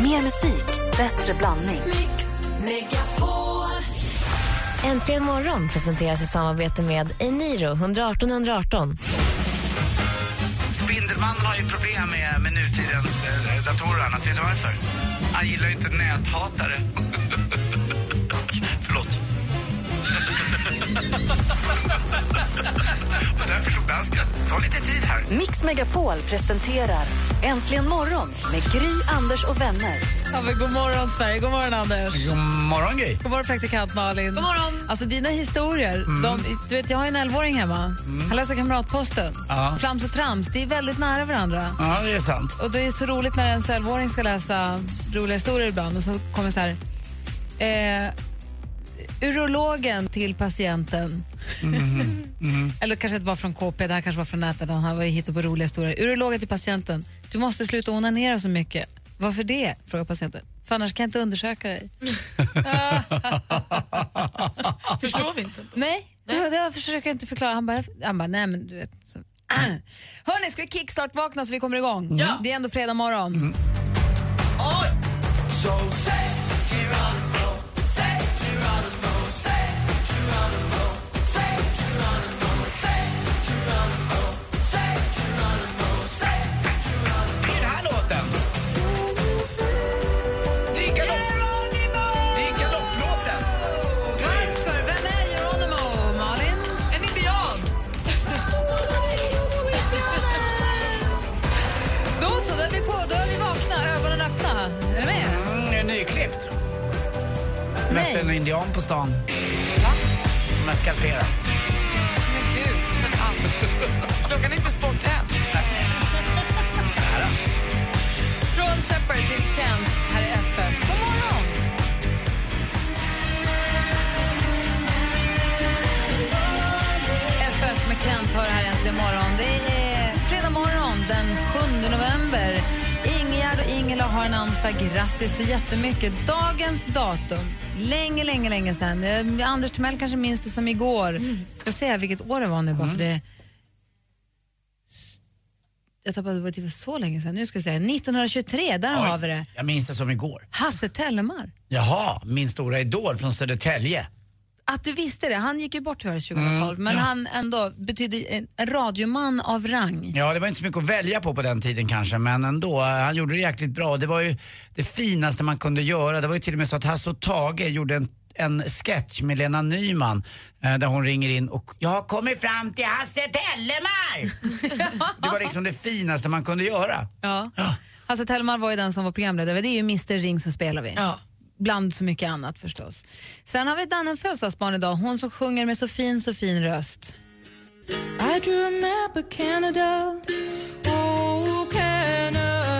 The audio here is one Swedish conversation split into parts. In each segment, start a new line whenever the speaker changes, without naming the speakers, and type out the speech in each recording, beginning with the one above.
Mer musik, bättre blandning.
Mix Megapol.
Äntligen morgon presenteras i samarbete med Eniro 118 118.
Spindelmannen har ju problem med, med nutidens eh, datorer och annat. Vet du varför? Han gillar ju inte näthatare. Förlåt. och därför slog han skratt. Ta lite tid här.
Mix Megapol presenterar Äntligen morgon med Gry, Anders och vänner.
Ja, men god morgon, Sverige. God morgon, Anders.
God morgon, Gry.
God morgon, praktikant Malin. God morgon. Alltså, dina historier. De, du vet, jag har en 11-åring hemma. Han läser Kamratposten.
Ja.
Flams och trams, det är väldigt nära varandra.
Ja, det är sant.
Och Det är så roligt när ens 11-åring ska läsa roliga historier ibland och så kommer så här... Eh, urologen till patienten. Eller kanske det var från KP, det här kanske var från nätet, där han var hittade på roliga historier. Urologen till patienten. Du måste sluta onanera så mycket. Varför det? frågar patienten. För annars kan jag inte undersöka dig.
Förstår vi inte.
Nej, Det, det försöker jag inte förklara. Han bara, han bara nej men du vet. Så. Hörni, ska vi kickstart-vakna så vi kommer igång?
Ja.
Det är ändå fredag morgon.
Oj!
Det är den här låten. Det är galopp-
Geronimo!
det är galopplåten.
Varför? Vem är Geronimo, Malin?
En indian!
Då så, då är vi på, då är vi vakna, ögonen öppna. Är du med?
Mm, är nyklippt.
Nej.
Mötte en indian på stan. Men skalpera.
Men gud, men allt. Klockan är inte sport än.
Från Shepard till Kent, här är FF. God morgon! FF med Kent har det här äntligen morgon. Det är fredag morgon den 7 november. Ingegärd och Ingela har namnsdag. Grattis så jättemycket. Dagens datum. Länge, länge, länge sedan. Eh, Anders Timell kanske minns det som igår. Ska se vilket år det var nu bara för det. S- Jag tappade vad det var så länge sedan. Nu ska vi se. 1923, där har vi det.
Jag minns det som igår.
Hasse Tellemar.
Jaha, min stora idol från Södertälje.
Att du visste det. Han gick ju bort tyvärr 2012, men han ändå betydde en en radioman av rang.
Ja, det var inte så mycket att välja på på den tiden kanske, men ändå. eh, Han gjorde det jäkligt bra. Det var ju det finaste man kunde göra. Det var ju till och med så att Hasse och Tage gjorde en en sketch med Lena Nyman eh, där hon ringer in och jag har kommit fram till Hasse Tellemar! det var liksom det finaste man kunde göra.
Ja. Hasse Tellemar var ju den som var programledare. Det är ju Mr Ring som spelar vi.
Ja.
Bland så mycket annat förstås. Sen har vi Danne en födelsedagsbarn idag. Hon som sjunger med så fin, så fin röst.
I do remember Canada. Oh,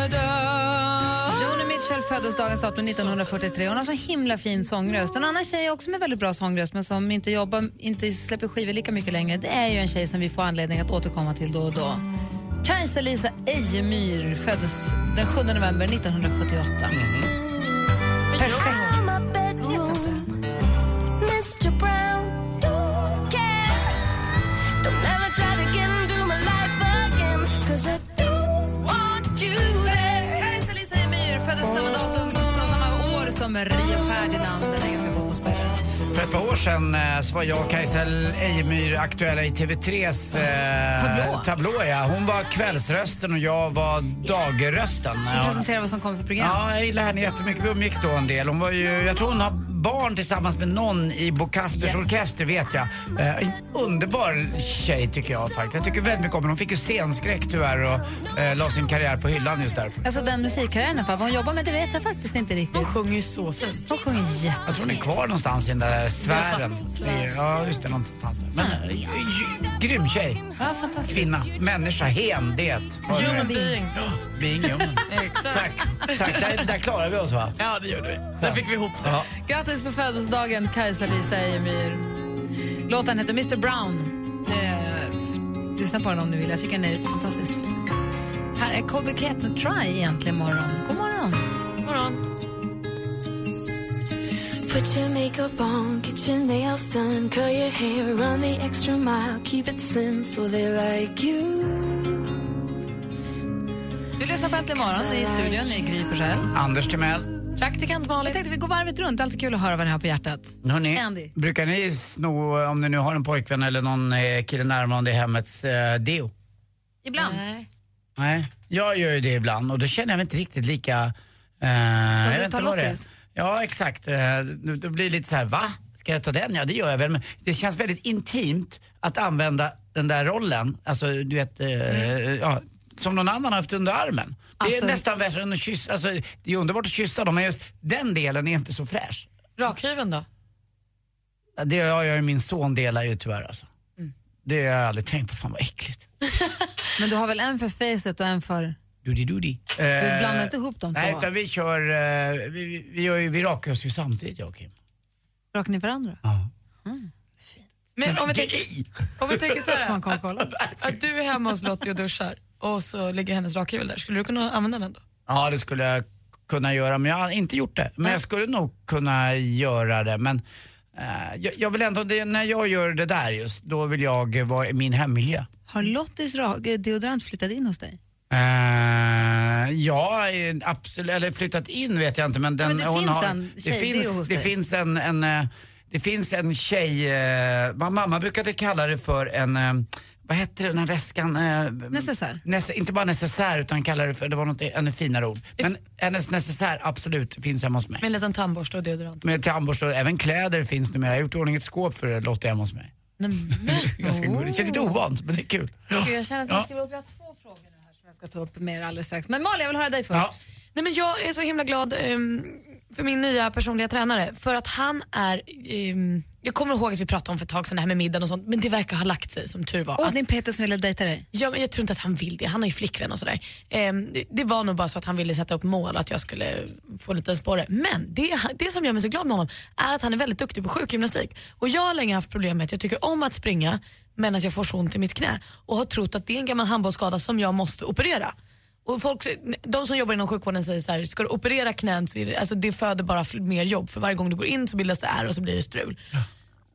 Canada.
Joni Mitchell föddes dagens datum 1943. Hon har så himla fin sångröst. En annan tjej också med väldigt bra sångröst men som inte jobbar, inte släpper skivor lika mycket längre det är ju en tjej som vi får anledning att återkomma till då och då. Kajsa-Lisa Ejemyr föddes den 7 november 1978. Perfekt. Vet inte.
Mr. Brown, don't care. Don't ever try to get into my life again. Cause I do want you there.
Kajsa-Lisa Ejemyr föddes samma datum, som- samma år som Rio Ferdinand, den engelska fotbollsspelaren.
För ett par år sedan eh, så var jag och Kajsa L- Ejemyr aktuella i TV3s eh,
Tablå.
tablå ja. Hon var kvällsrösten och jag var dagrösten.
Som
Ja.
presenterar vad som kommer för program.
Ja, jag gillar henne jättemycket. Vi umgicks då en del. Hon var ju, jag tror hon har barn tillsammans med någon i Bo Kaspers
Yes.
orkester, vet jag. Eh, en underbar tjej tycker jag faktiskt. Jag tycker väldigt mycket om henne. Hon fick ju scenskräck tyvärr och eh, la sin karriär på hyllan just därför.
Alltså den musikkarriären i alla fall. Vad hon jobbar med det vet jag faktiskt inte riktigt.
Hon sjunger ju så fint.
Hon sjunger jätte...
Jag tror hon är kvar någonstans i den där sfären.
Svär.
Ja, just det, någonstans där. Men eh, gy- grym tjej.
Ja, fantastiskt.
Kvinna, människa, hen, det. Vad det nu är.
Human being.
Vi är ingen human.
Exakt.
Tack, tack. Där, där klarar vi oss va?
Ja, det gjorde vi. Där fick vi ihop det.
Ja.
Grattis på födelsedagen, Kajsa-Lisa Ejemyr. Låten heter Mr Brown. Eh, f- lyssna på den om du vill. Jag tycker den är fantastiskt fin. Här är Colby Cat med Try egentligen morgon. God morgon.
God morgon.
Put your makeup on, get your nails done, curl your hair, run the extra mile, keep it slim so they like you.
Du lyssnar på Äntligen morgon i studion med Gry Forssell.
Anders Timell,
Praktikant Malin. Jag tänkte vi går varvet runt. Det är alltid kul att höra vad ni har på hjärtat.
hörni,
Andy.
brukar ni sno, om ni nu har en pojkvän eller någon eh, kille närvarande i hemmets eh, deo?
Ibland.
Nej, jag gör ju det ibland och då känner jag mig inte riktigt lika... Eh, jag
du
vet
tar
inte vad det är.
lottis?
Ja, exakt. Eh, då- då blir det lite så här, va? Ska jag ta den? Ja, det gör jag väl. Men det känns väldigt intimt att använda den där rollen, alltså du vet, eh, ja, som någon annan har haft under armen. Det
Mm. Alltså-
är nästan värre än att kyssa, alltså det är underbart att kyssa dem men just den delen är inte så fräsch.
Rakhyveln då?
Det gör jag, jag och min son delar ju tyvärr alltså.
Mm.
Det har jag aldrig tänkt på, fan vad äckligt.
Men du har väl en för facet och en för...
Doody-doody.
Du blandar inte ihop dem
Eh, Nej,
två?
utan vi kör, eh, vi, vi, vi, gör ju, vi rakar oss ju samtidigt jag och Kim.
Rakar ni varandra?
Men om vi tänker, om vi tänker så
Man
här,
kan kolla.
att du är hemma hos Lottie och duschar och så ligger hennes rakhyvel där, skulle du kunna använda den då?
Ja, det skulle jag kunna göra, men jag har inte gjort det. Men jag skulle nog kunna göra det, men eh, jag, jag vill ändå, det, när jag gör det där just, då vill jag eh, vara i min hemmiljö.
Har Lottis ra- eh, deodorant flyttat in hos dig?
Mm. Eh, ja, eh, absolut, eller flyttat in vet jag inte men, den,
men det
hon
finns
har,
en
det
tjej, det är ju
finns,
hos
det
dig.
finns en, en eh, det finns en tjej, eh, vad mamma brukade kalla det för en, eh, vad hette den här väskan? Eh,
Necessär?
Nece- inte bara necessär utan kallar det för, det var något ännu finare ord. Men hennes necessär absolut finns hemma hos mig.
Med en liten tandborste och deodorant?
Med tandborste och även kläder finns numera. Jag har gjort i ordning ett skåp för det, Lotta hemma hos mig.
Nej,
Ganska oh. Det känns lite ovant men det är kul. Ja.
jag känner att
Ja.
Jag har två frågor nu här som jag ska ta upp med er alldeles strax. Men Malin, jag vill höra dig först.
Ja.
Nej, men jag är så himla glad ehm, för min nya personliga tränare för att han är, ehm, jag kommer ihåg att vi pratade om för ett tag sedan det här med middagen och sånt men det verkar ha lagt sig som tur var.
Åh,
Att-
din Peter som ville dejta dig.
Ja, men jag tror inte att han vill det. Han har ju flickvän och sådär. Ehm, det- det var nog bara så att han ville sätta upp mål att jag skulle få en liten sporre. Men det, det som gör mig så glad med honom är att han är väldigt duktig på sjukgymnastik. Och jag har länge haft problem med att jag tycker om att springa men att jag får så ont i mitt knä och har trott att det är en gammal handbollsskada som jag måste operera. Och folk, de som jobbar inom sjukvården säger så här, ska du operera knän så är det, alltså det föder bara fl- mer jobb för varje gång du går in så bildas det ärr och så blir det strul.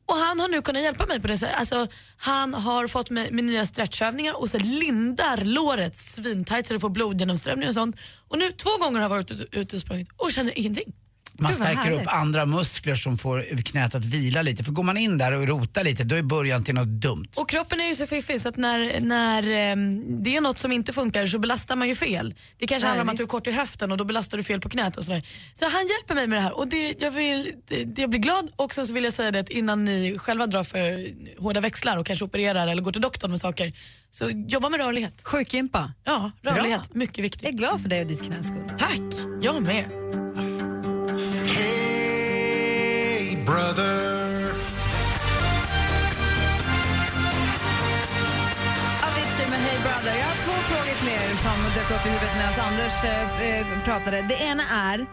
Och han har nu kunnat hjälpa mig på det sättet. Alltså, han har fått mig med nya stretchövningar och så lindar låret svintajt så det får blodgenomströmning och sånt. Och nu två gånger har jag varit ute, ute och sprungit och känner ingenting.
Man
Gud, vad
stärker
härligt.
upp andra muskler som får knät att vila lite. För går man in där och rotar lite, då är början till något dumt.
Och kroppen är ju så fiffig så att när, när ehm, det är något som inte funkar så belastar man ju fel. Det kanske
Nej,
handlar om att
visst.
du är kort i höften och då belastar du fel på knät och sådär. Så han hjälper mig med det här och det, jag, vill, det, det- jag blir glad och sen så vill jag säga det att innan ni själva drar för hårda växlar och kanske opererar eller går till doktorn med saker så jobba med rörlighet.
Sjukgympa.
Ja, rörlighet. Mycket
Jag
viktigt.
är glad för dig och ditt knäs skull.
Tack! Jag med.
Avicii med Hey Brother. Jag har två frågor till er som dök upp i huvudet medan Anders eh, eh, pratade. Det ena är,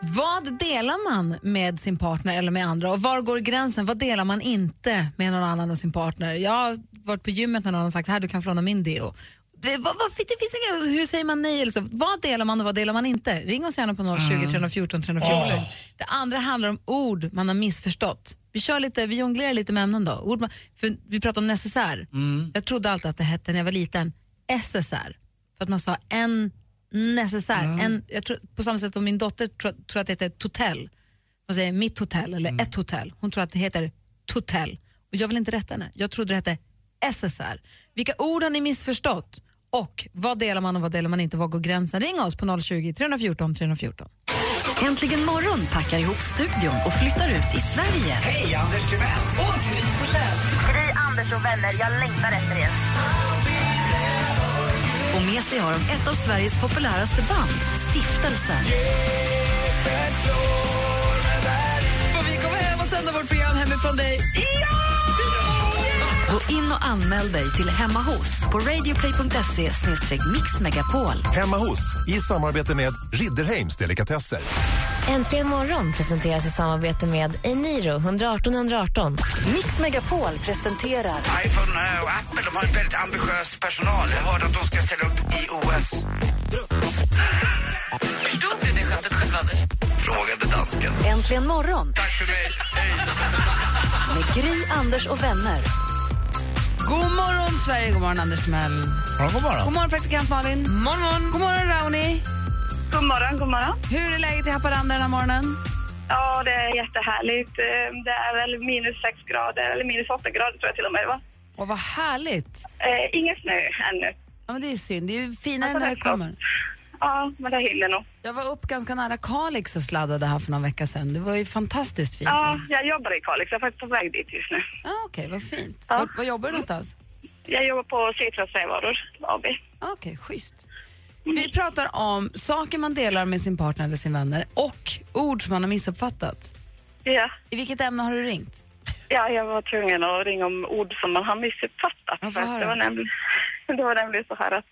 vad delar man med sin partner eller med andra? Och var går gränsen? Vad delar man inte med någon annan och sin partner? Jag har varit på gymmet när någon har sagt, här du kan få låna min deo. Det, vad, vad, det finns inga, hur säger man nej? eller så? Vad delar man och vad delar man inte? Ring oss gärna på 020 314 314. Det andra handlar om ord man har missförstått. Vi kör lite, vi jonglerar lite med ämnen då. Ord man, för vi pratar om necessär. Jag trodde alltid att det hette när jag var liten SSR. För att man sa en necessär. En, jag tror, på samma sätt som min dotter tror, tror att det heter totell. Man säger mitt hotell eller ett hotell. Hon tror att det heter totell. Och jag vill inte rätta henne. Jag trodde det hette SSR. Vilka ord har ni missförstått? Och vad delar man och vad delar man inte? Var går gränsen? Ring oss på 020 314 314.
Äntligen morgon packar ihop studion och flyttar ut i Sverige.
Hej, Anders Timell!
Gry, Anders och vänner, jag längtar efter er.
Och med sig har de ett av Sveriges populäraste band, Stiftelsen.
Får vi komma hem och sända vårt program hemifrån dig?
Gå in och anmäl dig till Hemma hos på radioplay.se mixmegapol.
Hemma hos, i samarbete med Ridderheims Delikatesser.
Äntligen morgon presenteras i samarbete med Eniro 118 118.
Mix Megapol presenterar
iPhone och Apple de har en väldigt ambitiös personal. Jag hörde att de ska ställa upp i OS.
Förstod du det skämtet själv, Anders?
Frågade dansken.
Äntligen morgon
Tack för mig.
med Gry, Anders och vänner.
God morgon, Sverige. God morgon, Anders Timell.
Ja, god morgon.
God morgon, praktikant Malin. Morgon, morgon. God morgon, Rauni.
God morgon, god morgon.
Hur är läget i Haparanda den här morgonen?
Ja, det är jättehärligt. Eh, Det är väl minus sex grader, eller minus åtta grader tror jag till och med det var.
Och vad härligt.
Eh, ingen snö ännu.
Ja, men det är ju synd. Det är ju finare
Ja,
när det
tack så.
kommer.
Ja, men det hinner nog.
Jag var upp ganska nära Kalix och sladdade här för någon vecka sedan. Det var ju fantastiskt fint.
Ja, jag jobbar i Kalix. Jag är faktiskt på väg dit just nu.
Ah, Okej, vad fint. Var, var jobbar du någonstans? Ah,
Jag jobbar på Citras Trävaror AB.
Okej, schysst. Vi pratar om saker man delar med sin partner eller sin vänner och ord som man har missuppfattat.
Ja.
I vilket ämne har du ringt?
Ja, jag var tvungen att ringa om ord som man har missuppfattat. För att det, var nämligen, det var nämligen så här att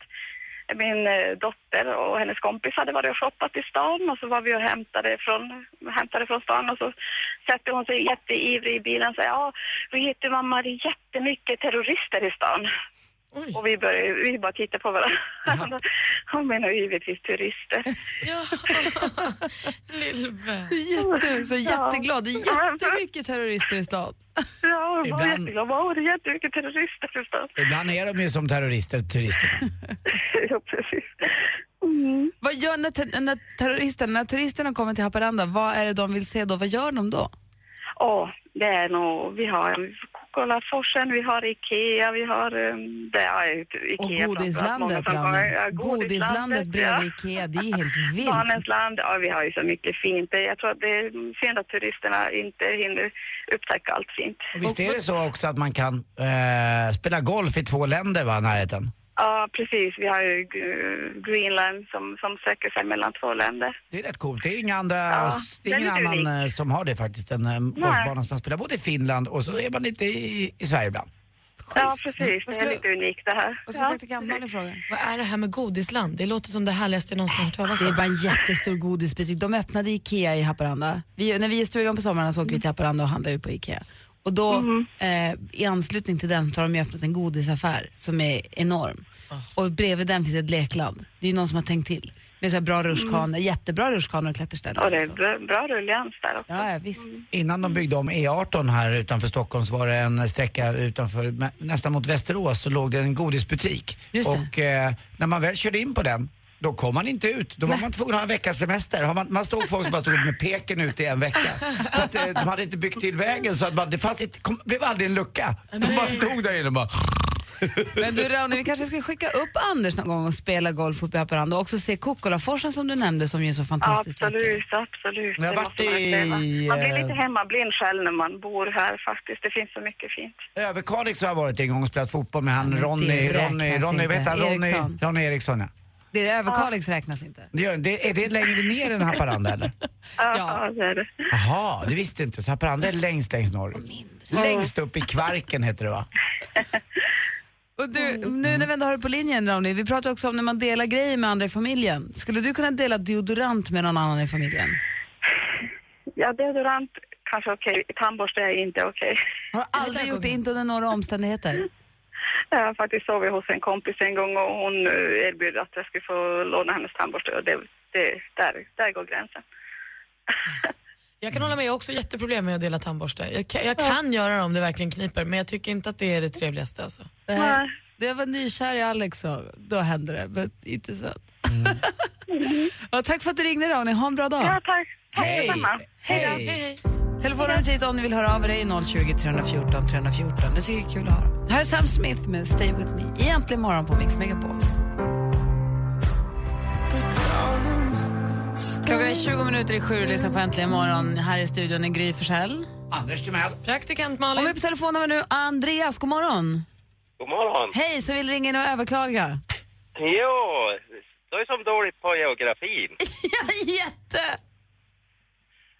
min eh, dotter och hennes kompis hade varit och shoppat i stan och så var vi och hämtade från, hämtade från stan och så sätter hon sig jätteivrig i bilen och säger ja, vet du mamma, det är jättemycket terrorister i stan. Och vi, började, vi bara tittade på varandra. Hon menar ju givetvis turister.
Lillvän.
Jätte, så jätteglad. Det är jättemycket terrorister i stan.
Ja, hon var
Ibland-
jätteglad. Wow, det är jättemycket terrorister i stan.
Ibland är de ju som terrorister, turisterna.
ja, precis. Mm.
Vad gör när, te- när, terroristerna, när turisterna kommer till Haparanda, vad är det de vill se då? Vad gör de då?
Ja, det är nog, vi har Kolaforsen, vi har Ikea, vi har um, det är ju Ikea
Och
framför allt, många
godislandet,
som kommer.
Ramme.
Ja,
Godislandet bredvid Ikea, det är helt
Ja.
vilt.
Barnens land, ja vi har ju så mycket fint. Det- Jag tror att det är synd att turisterna inte hinner upptäcka allt fint.
Och Visst är det så också att man kan eh, spela golf i två länder, va, i närheten?
Ja, precis. Vi har ju G- Greenland som, som söker sig mellan två länder.
Det är rätt coolt. Det är inga andra, det är
den
ingen
är unik.
annan eh, som har det faktiskt, en eh, golfbana som man spelar både i Finland och så är man lite i, i Sverige ibland.
Ja, precis. Det är lite unikt det här.
Vad ska praktikant Malin fråga?
Vad är det här med godisland? Det låter som det härligaste jag någonsin hört talas
Det är
om.
bara en jättestor godisbutik. De öppnade Ikea i Haparanda. Vi, när vi är i stugan på sommaren så åker
Mm.
vi till Haparanda och handlar ju på Ikea. Och då, eh, i anslutning till den, så har de ju öppnat en godisaffär som är enorm. Och bredvid den finns ett lekland. Det är ju någon som har tänkt till. Med så här bra rutschkanor, jättebra rutschkanor och klätterställ.
Och Mm. det är bra- Mm. bra rullians där också.
Ja, ja, visst.
Innan de byggde om E18 här utanför Stockholm så var det en sträcka utanför, nä- nästan mot Västerås, så låg det en godisbutik.
Just det.
Och eh, när man väl körde in på den, då kom man inte ut. Då var man tvungen att ha en veckas semester. Har Man, man stod folk som bara stod med peken ute i en vecka. För att, eh, de hade inte byggt till vägen så att man, det fanns inte, kom, blev aldrig en lucka. De bara stod där inne och bara...
Men du Ronny, vi kanske ska skicka upp Anders någon gång och spela golf uppe i Haparanda och också se Kokkolaforsen som du nämnde som ju är så fantastisk.
Absolut, absolut.
Jag har
Det
varit
måste man
i,
uppleva. Man blir lite
eh,
hemmablind själv när man bor här faktiskt. Det finns så mycket fint.
Överkalix har jag varit en gång och spelat fotboll med han
men det
Ronny,
räknas
Ronny, Ronny,
inte.
vet han, Ronny,
Eriksson.
Ronny Eriksson ja.
Det är Överkalix räknas inte.
Det gör, det, är det längre ner än Haparanda eller?
Ja, ja. det är det.
Jaha, det visste jag inte. Så Haparanda är längst, längst norrut. Längst upp i Kvarken heter det va?
Och du, nu när vi ändå har det på linjen Ronny, vi pratar också om när man delar grejer med andra i familjen. Skulle du kunna dela deodorant med någon annan i familjen?
Ja, deodorant kanske okej. Tandborste är inte okej.
Har du aldrig gjort det, inte under några omständigheter?
Jag har faktiskt sovit hos en kompis en gång och hon eh, erbjöd att jag skulle få låna hennes tandborste och det, det, där, där går gränsen.
Jag kan hålla med, jag har också jätteproblem med att dela tandborste. Jag kan, jag kan göra det om det verkligen kniper, men jag tycker inte att det är det trevligaste. Alltså.
Nej. Det var nykär i Alex så då hände det, men inte så. Mm. ja, tack för att du ringde Ronny, ha en bra dag.
Ja, tack.
Hej!
Hej! Telefonen hit om ni vill höra av er är 020 314 314. Det tycker jag är kul att höra. Här är Sam Smith med Stay With Me. Egentligen morgon på Mix Megapol. Klockan är 20 minuter i sju och lyssnar på Äntligen morgon. Här i studion är Gry Forssell.
Anders Timell.
Praktikant
Och vi
Malin.
är på telefon med nu Andreas. God morgon.
God morgon.
Hej, så vill ringa in och överklaga.
Jo, du är som dåligt på geografin.
Jätte!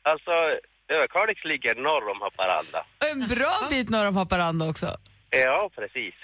Alltså, Överkalix ligger norr om Haparanda.
En bra bit norr om Haparanda också.
Ja, precis.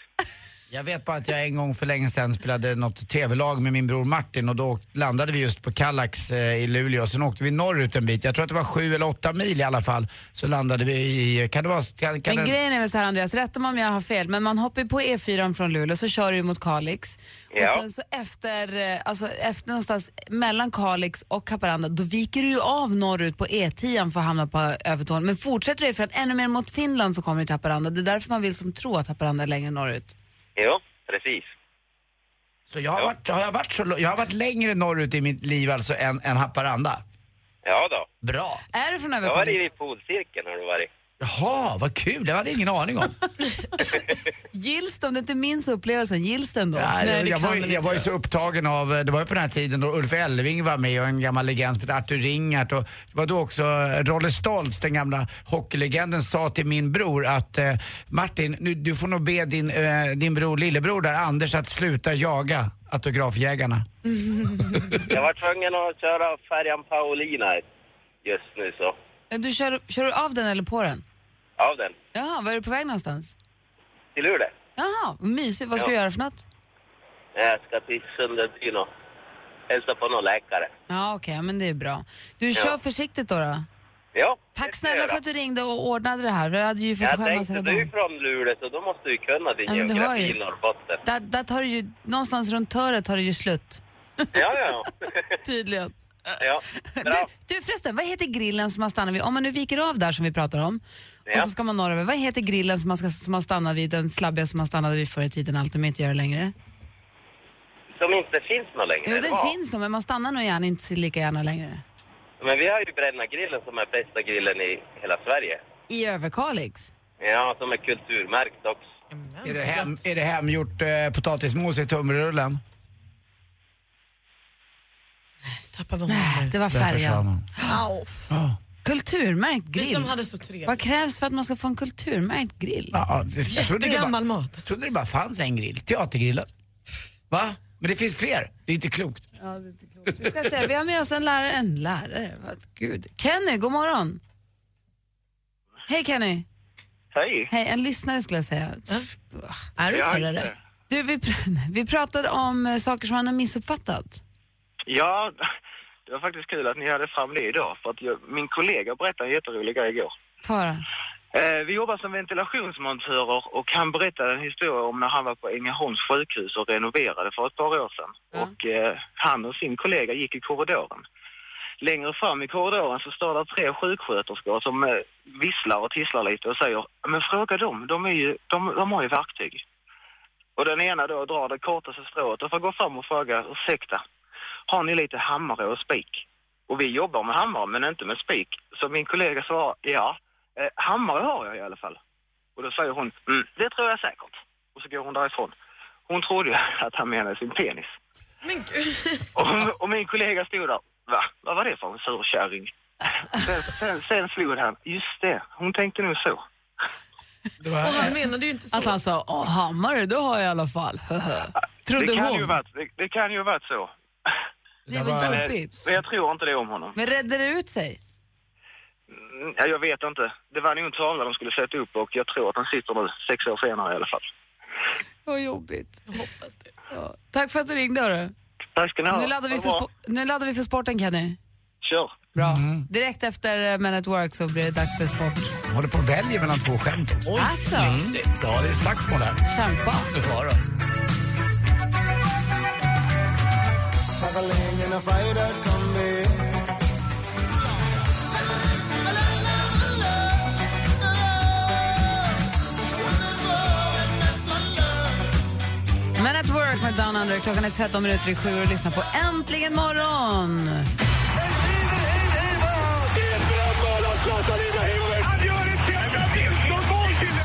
Jag vet bara att jag en gång för länge sedan spelade något tv-lag med min bror Martin och då landade vi just på Kallax eh, i Luleå. Sen åkte vi norrut en bit, jag tror att det var sju eller åtta mil i alla fall. Så landade vi i, kan det vara... Kan, kan
Men
det-
grejen är väl så här Andreas, rätta mig om jag har fel, men man hoppar ju på E4 från Luleå så kör du mot Kalix.
Ja.
Och sen så efter, eh, alltså efter någonstans mellan Kalix och Haparanda, då viker du ju av norrut på E10 för att hamna på Övertorneå. Men fortsätter du för att ännu mer mot Finland så kommer du till Haparanda. Det är därför man vill som tro att Haparanda är längre norrut.
Ja, precis.
Så jag har, varit, har jag, varit så, lo- jag har varit längre norrut i mitt liv alltså än, än Haparanda.
Ja då.
Bra.
Är du från
Jag har varit
Övertorneå?
i polcirkeln har du varit.
Jaha, vad kul, det hade jag ingen aning om.
Gills det om du inte minns upplevelsen? Gills den då?
Nej,
det
jag,
kan
var,
väl inte
jag var ju
göra.
så upptagen av, eh, det var ju på den här tiden då Ulf Elving var med och en gammal legend som hette Arthur Ringart och det var då också eh, Rolle Stoltz, den gamla hockeylegenden, sa till min bror att eh, Martin, nu, du får nog be din, eh, din bror, lillebror där, Anders, att sluta jaga autografjägarna.
Jag var tvungen att köra färjan Paulina just nu så.
Men Du kör, kör du av den eller på den?
Av den.
Jaha, var är du på väg någonstans?
Till Luleå.
Jaha, vad mysigt. Vad ska
Ja.
du göra för något?
Jag ska till Sunderbyn och hälsa på någon läkare.
Ja, okej, men det är bra. Du,
Ja.
kör försiktigt då. då.
Ja.
Tack snälla för att du ringde och ordnade det här. Vi hade ju fått
Jag
skämmas
tänkte,
redan.
du är från Luleå så då måste du kunna
Ja,
din
men du hör
geografi i
ju.
Norrbotten.
Där, där tar det ju, någonstans runt töret tar det ju slut.
Ja, ja.
Tydligen.
ja. Bra.
Du förresten, vad heter grillen som man stannar vid? Om man nu viker av där som vi pratar om och
Ja.
så ska man norröver. Vad heter grillen som man, ska, som man stannar vid? Den slabbiga som man stannade vid förr i tiden, allt de inte gör längre.
Som inte finns någon längre.
Jo,
eller
den
vad?
finns nog, men man stannar nog gärna inte lika gärna längre.
Men vi har ju Brännagrillen som är bästa grillen i hela Sverige.
I Överkalix.
Ja, som är kulturmärkt också.
Är det, hem, är det hemgjort eh, potatismos i tumrullen?
Nej, det var
Där försvann
färjan.
hon.
Au.
Ja.
Kulturmärkt grill.
Vi som hade så trevligt.
Vad krävs för att man ska få en kulturmärkt grill?
Ja, jag trodde det
Jättegammal
bara, mat. Jag trodde det bara fanns en grill, teatergrillen. Va? Men det finns fler. Det är inte klokt.
Ja, det är inte klokt. Vi ska se, vi har med oss en lärare. En lärare? Vad, gud. Kenny, god morgon. Hej Kenny.
Hej.
Hej, en lyssnare skulle jag säga. Är
du Jag är lärare? inte.
Du, vi, pr- vi pratade om eh, saker som han har missuppfattat.
Ja, det var faktiskt kul att ni hade fram det idag. För att jag, min kollega berättade en jätterolig grej igår.
Fara.
Eh, vi jobbar som ventilationsmontörer och han berättade en historia om när han var på Ängelholms sjukhus och renoverade för ett par år sedan. Och eh, han och sin kollega gick i korridoren. Längre fram i korridoren så står det tre sjuksköterskor som eh, visslar och tisslar lite och säger Men fråga dem, de, är ju, de, de har ju verktyg. Och den ena då drar det kortaste strået och får gå fram och fråga ursäkta, har ni lite hammare och spik? Och vi jobbar med hammare men inte med spik. Så min kollega svarar ja, eh, hammare har jag i alla fall. Och då säger hon mm, det tror jag säkert. Och så går hon därifrån. Hon trodde ju att han menade sin penis. Och, och min kollega stod där. Va? Vad var det för en surkärring? Sen, sen, sen slog han. Just det, hon tänkte nog så.
Och han menade ju inte så.
Att han sa, Åh, hammare, det har jag i alla fall. Trodde
det kan
hon.
Ju varit, det, det kan ju ha varit så.
Det var
men,
jobbigt.
men jag tror inte det om honom.
Men redde det ut sig?
Mm, Ja, jag vet inte. Det var nog en tavla de skulle sätta upp och jag tror att den sitter nu sex år senare i alla fall.
Vad jobbigt. Jag hoppas det. Ja. Tack för att du ringde. Hörru.
Tack ska ni ha.
Nu, laddar vi
Ha det
för
bra.
spo- nu laddar vi för sporten, Kenny.
Kör.
Bra.
Mhm.
Direkt efter eh, Men at Work så blir det dags för sport.
Jag håller på och väljer mellan två skämt.
Oj, Alltså.
Mm.
mysigt.
Ja, det är slagsmål här.
Kämpa.
Så fara.
Men at work med Down Under. Klockan är 13 minuter i sju och lyssna på Äntligen morgon!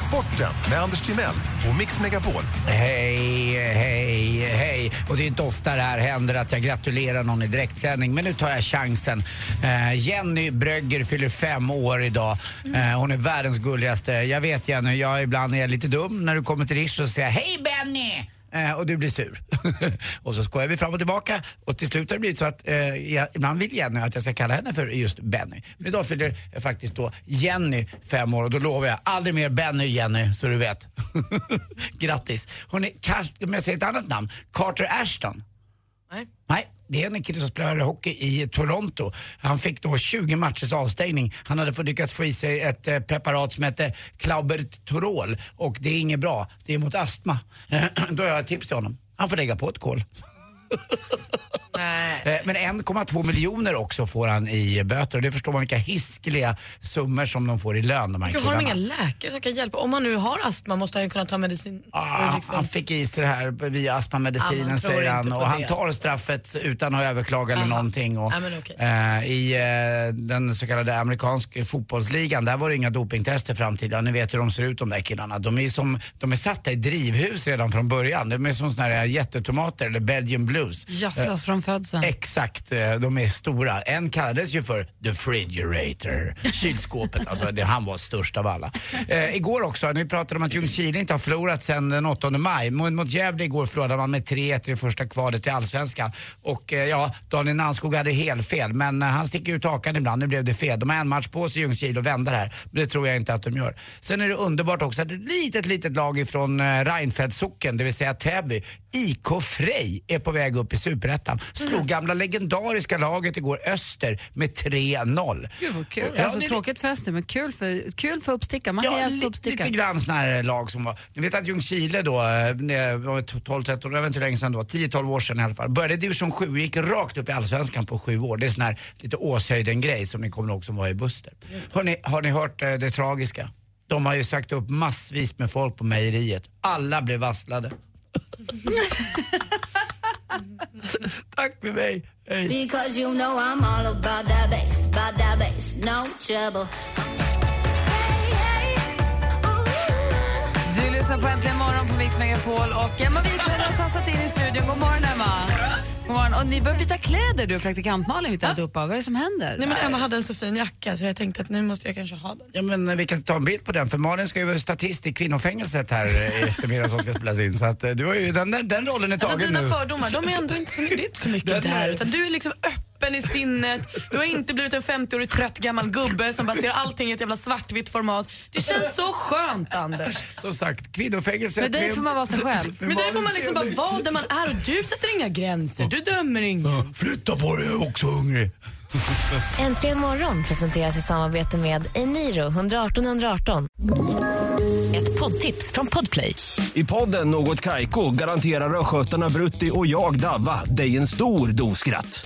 Sporten med Anders Timell och Mix Megapol.
Hej, hej, hej. Och det är inte ofta det här händer att jag gratulerar någon i direktsändning, men nu tar jag chansen. Eh, Jenny Brögger fyller fem år idag. Eh, hon är världens gulligaste. Jag vet Jenny, jag ibland är lite dum när du kommer till Rish och säger hej Benny! Eh, eh, och du blir sur. och så skojar vi fram och tillbaka och till slut har det blivit så att eh, jag, ibland vill Jenny att jag ska kalla henne för just Benny. Men idag fyller jag faktiskt då Jenny fem år och då lovar jag aldrig mer Benny Jenny så du vet. Grattis. Hon är, Car- om jag säger ett annat namn, Carter Ashton.
Nej.
Nej, det är en kille som spelar hockey i Toronto. Han fick då 20 matchers avstängning. Han hade fått lyckats få i sig ett eh, preparat som hette Claubertorol och det är inget bra. Det är mot astma. Då har jag ett tips till honom. Han får lägga på ett kol. Eh, Men 1,2 miljoner också får han i böter och det förstår man vilka hiskeliga summor som de får i lön de här
Jag har de
killarna.
inga läkare som kan hjälpa? Om man nu har astma måste han ju kunna ta medicin. liksom-
Ah, Han fick i sig det här via
Ah, man
astmamedicinen
tror
säger han
inte på
och han
det.
tar straffet utan att överklaga eller
Aha.
någonting. Och,
Ja, men okej.
eh, I eh, den så kallade amerikanska fotbollsligan där var det inga dopingtester fram till. Ja, ni vet hur de ser ut de där killarna. De är, som, de är satta i drivhus redan från början. De är som såna här jättetomater eller Belgian blues.
Gödslas från födseln.
Exakt, eh, de är stora. En kallades ju för the refrigerator, kylskåpet. Alltså, det, han var störst av alla. Eh, igår också, nu pratade om att Ljungskile inte har förlorat sedan den 8 maj. Mot mot Gävle igår förlorade man med 3-1 i första kvalet till allsvenskan. Och eh, ja, Daniel Nanskog hade helt fel, men eh, han sticker ut hakan ibland. Nu blev det fel. De har en match på sig Ljungskile och vända det här, men det tror jag inte att de gör. Sen är det underbart också att ett litet, litet lag ifrån eh, Reinfeldtsocken, det vill säga Täby, IK Frej är på väg upp i superettan. Slog
Mm.
gamla legendariska laget igår, Öster, med 3-0.
Gud vad kul.
Ja,
alltså,
det-
tråkigt för Öster, men kul för, kul för uppstickar. Man
Ja,
ja,
li-
helt uppstickar.
lite grann sådana här lag som var, ni vet att Ljungskile då, eh, när- var det 12, 13, jag vet inte hur länge sedan då, 10-12 år sedan i alla fall, började i division 7 och gick rakt upp i allsvenskan på sju år. Det är sån här lite Åshöjden-grej som ni kommer ihåg som var i Buster. Har ni, har ni hört eh, det tragiska? De har ju sagt upp massvis med folk på mejeriet. Alla blev varslade. Tack för mig, hej.
Because you know I'm all about that bass, about that bass, no trouble.
Du lyssnar på Äntligen morgon på Mix Megapol och Emma Wiklund har tassat in i studion. God morgon, Emma. God morgon. Och ni börjar byta kläder, du och praktikant Malin, mitt alltihopa. Vad är det som händer?
Nej, men Emma hade en så fin jacka så jag tänkte att nu måste jag kanske ha den.
Ja men eh, vi kan ta en bild på den för Malin ska ju vara statist i kvinnofängelset här eh, i eftermiddag som ska spelas in. Så att eh, du har ju, den, den, den rollen är tagen
Alltså dina
nu.
fördomar, de är ändå inte så mycket, det är inte så mycket där utan du är liksom öppen i sinnet. Du har inte blivit en 50-årig trött gammal gubbe som bara ser allting i ett jävla svartvitt format. Det känns så skönt Anders.
Som sagt, kvinnofängelset.
Med dig får man vara sig själv.
Med
Men där
Malin
får man liksom bara
Stenberg.
vara där man är och du sätter inga gränser, du dömer ingen.
Flytta på dig, jag är också hungrig.
Äntligen morgon presenteras i samarbete med Eniro 118 118. Ett poddtips från Podplay.
I podden Något Kaiko garanterar östgötarna Brutti och jag, Davva, dig en stor dos skratt.